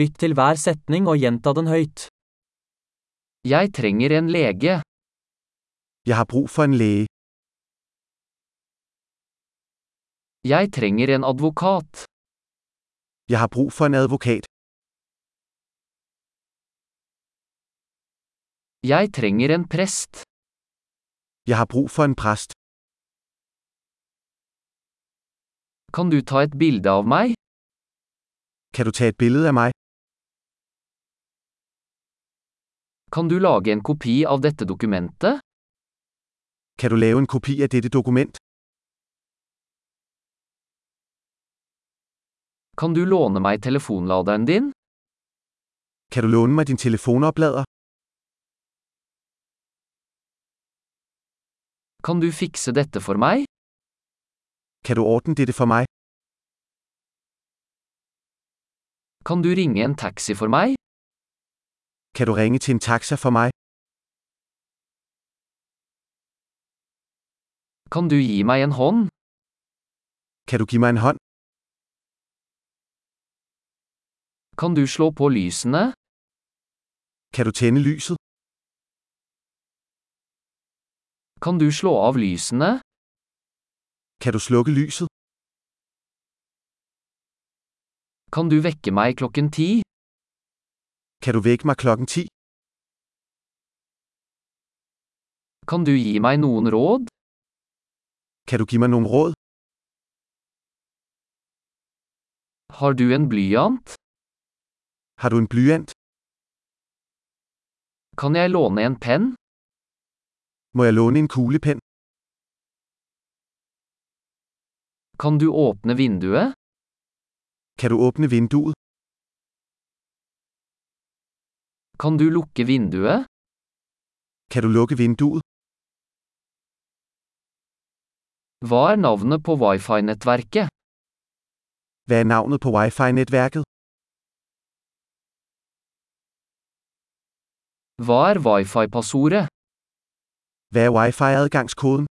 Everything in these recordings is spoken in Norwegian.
Lytt til hver setning og gjenta den høyt. Jeg trenger en lege. Jeg har brug for en læge. Jeg trenger en advokat. Jeg har brug for en advokat. Jeg trenger en prest. Jeg har brug for en præst. Kan du ta et bilde av meg? Kan du tage et billede af mig? Kan du lage en kopi av dette dokumentet? Kan du lave en kopi af dette dokument? Kan du låne meg telefonladeren din? Kan du låne mig din telefonoplader? Kan du fikse dette for meg? Kan du ordne dette for mig? Kan du ringe en taxi for meg? Kan du ringe til en taxa for mig? Kan du gi meg en hånd? Kan du give mig en hånd? Kan du slå på lysene? Kan du tænde lyset? Kan du slå av lysene? Kan du slukke lyset? Kan du vekke meg klokken ti? Kan du vække mig klokken 10? Kan du gi meg noen råd? Kan du give mig nogle råd? Har du en blyant? Har du en blyant? Kan jeg låne en penn? Må jeg låne en kuglepen? Kan du åpne vinduet? Kan du åbne vinduet? Kan du lukke vinduet? Kan du lukke vinduet? Hva er navnet på wifi-nettverket? Hvad er navnet på wifi-netværket? Hva er wifi-passordet? Hvad er wifi-adgangskoden?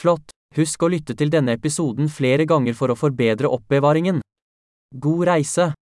Flott! Husk å lytte til denne episoden flere ganger for å forbedre oppbevaringen. God reise!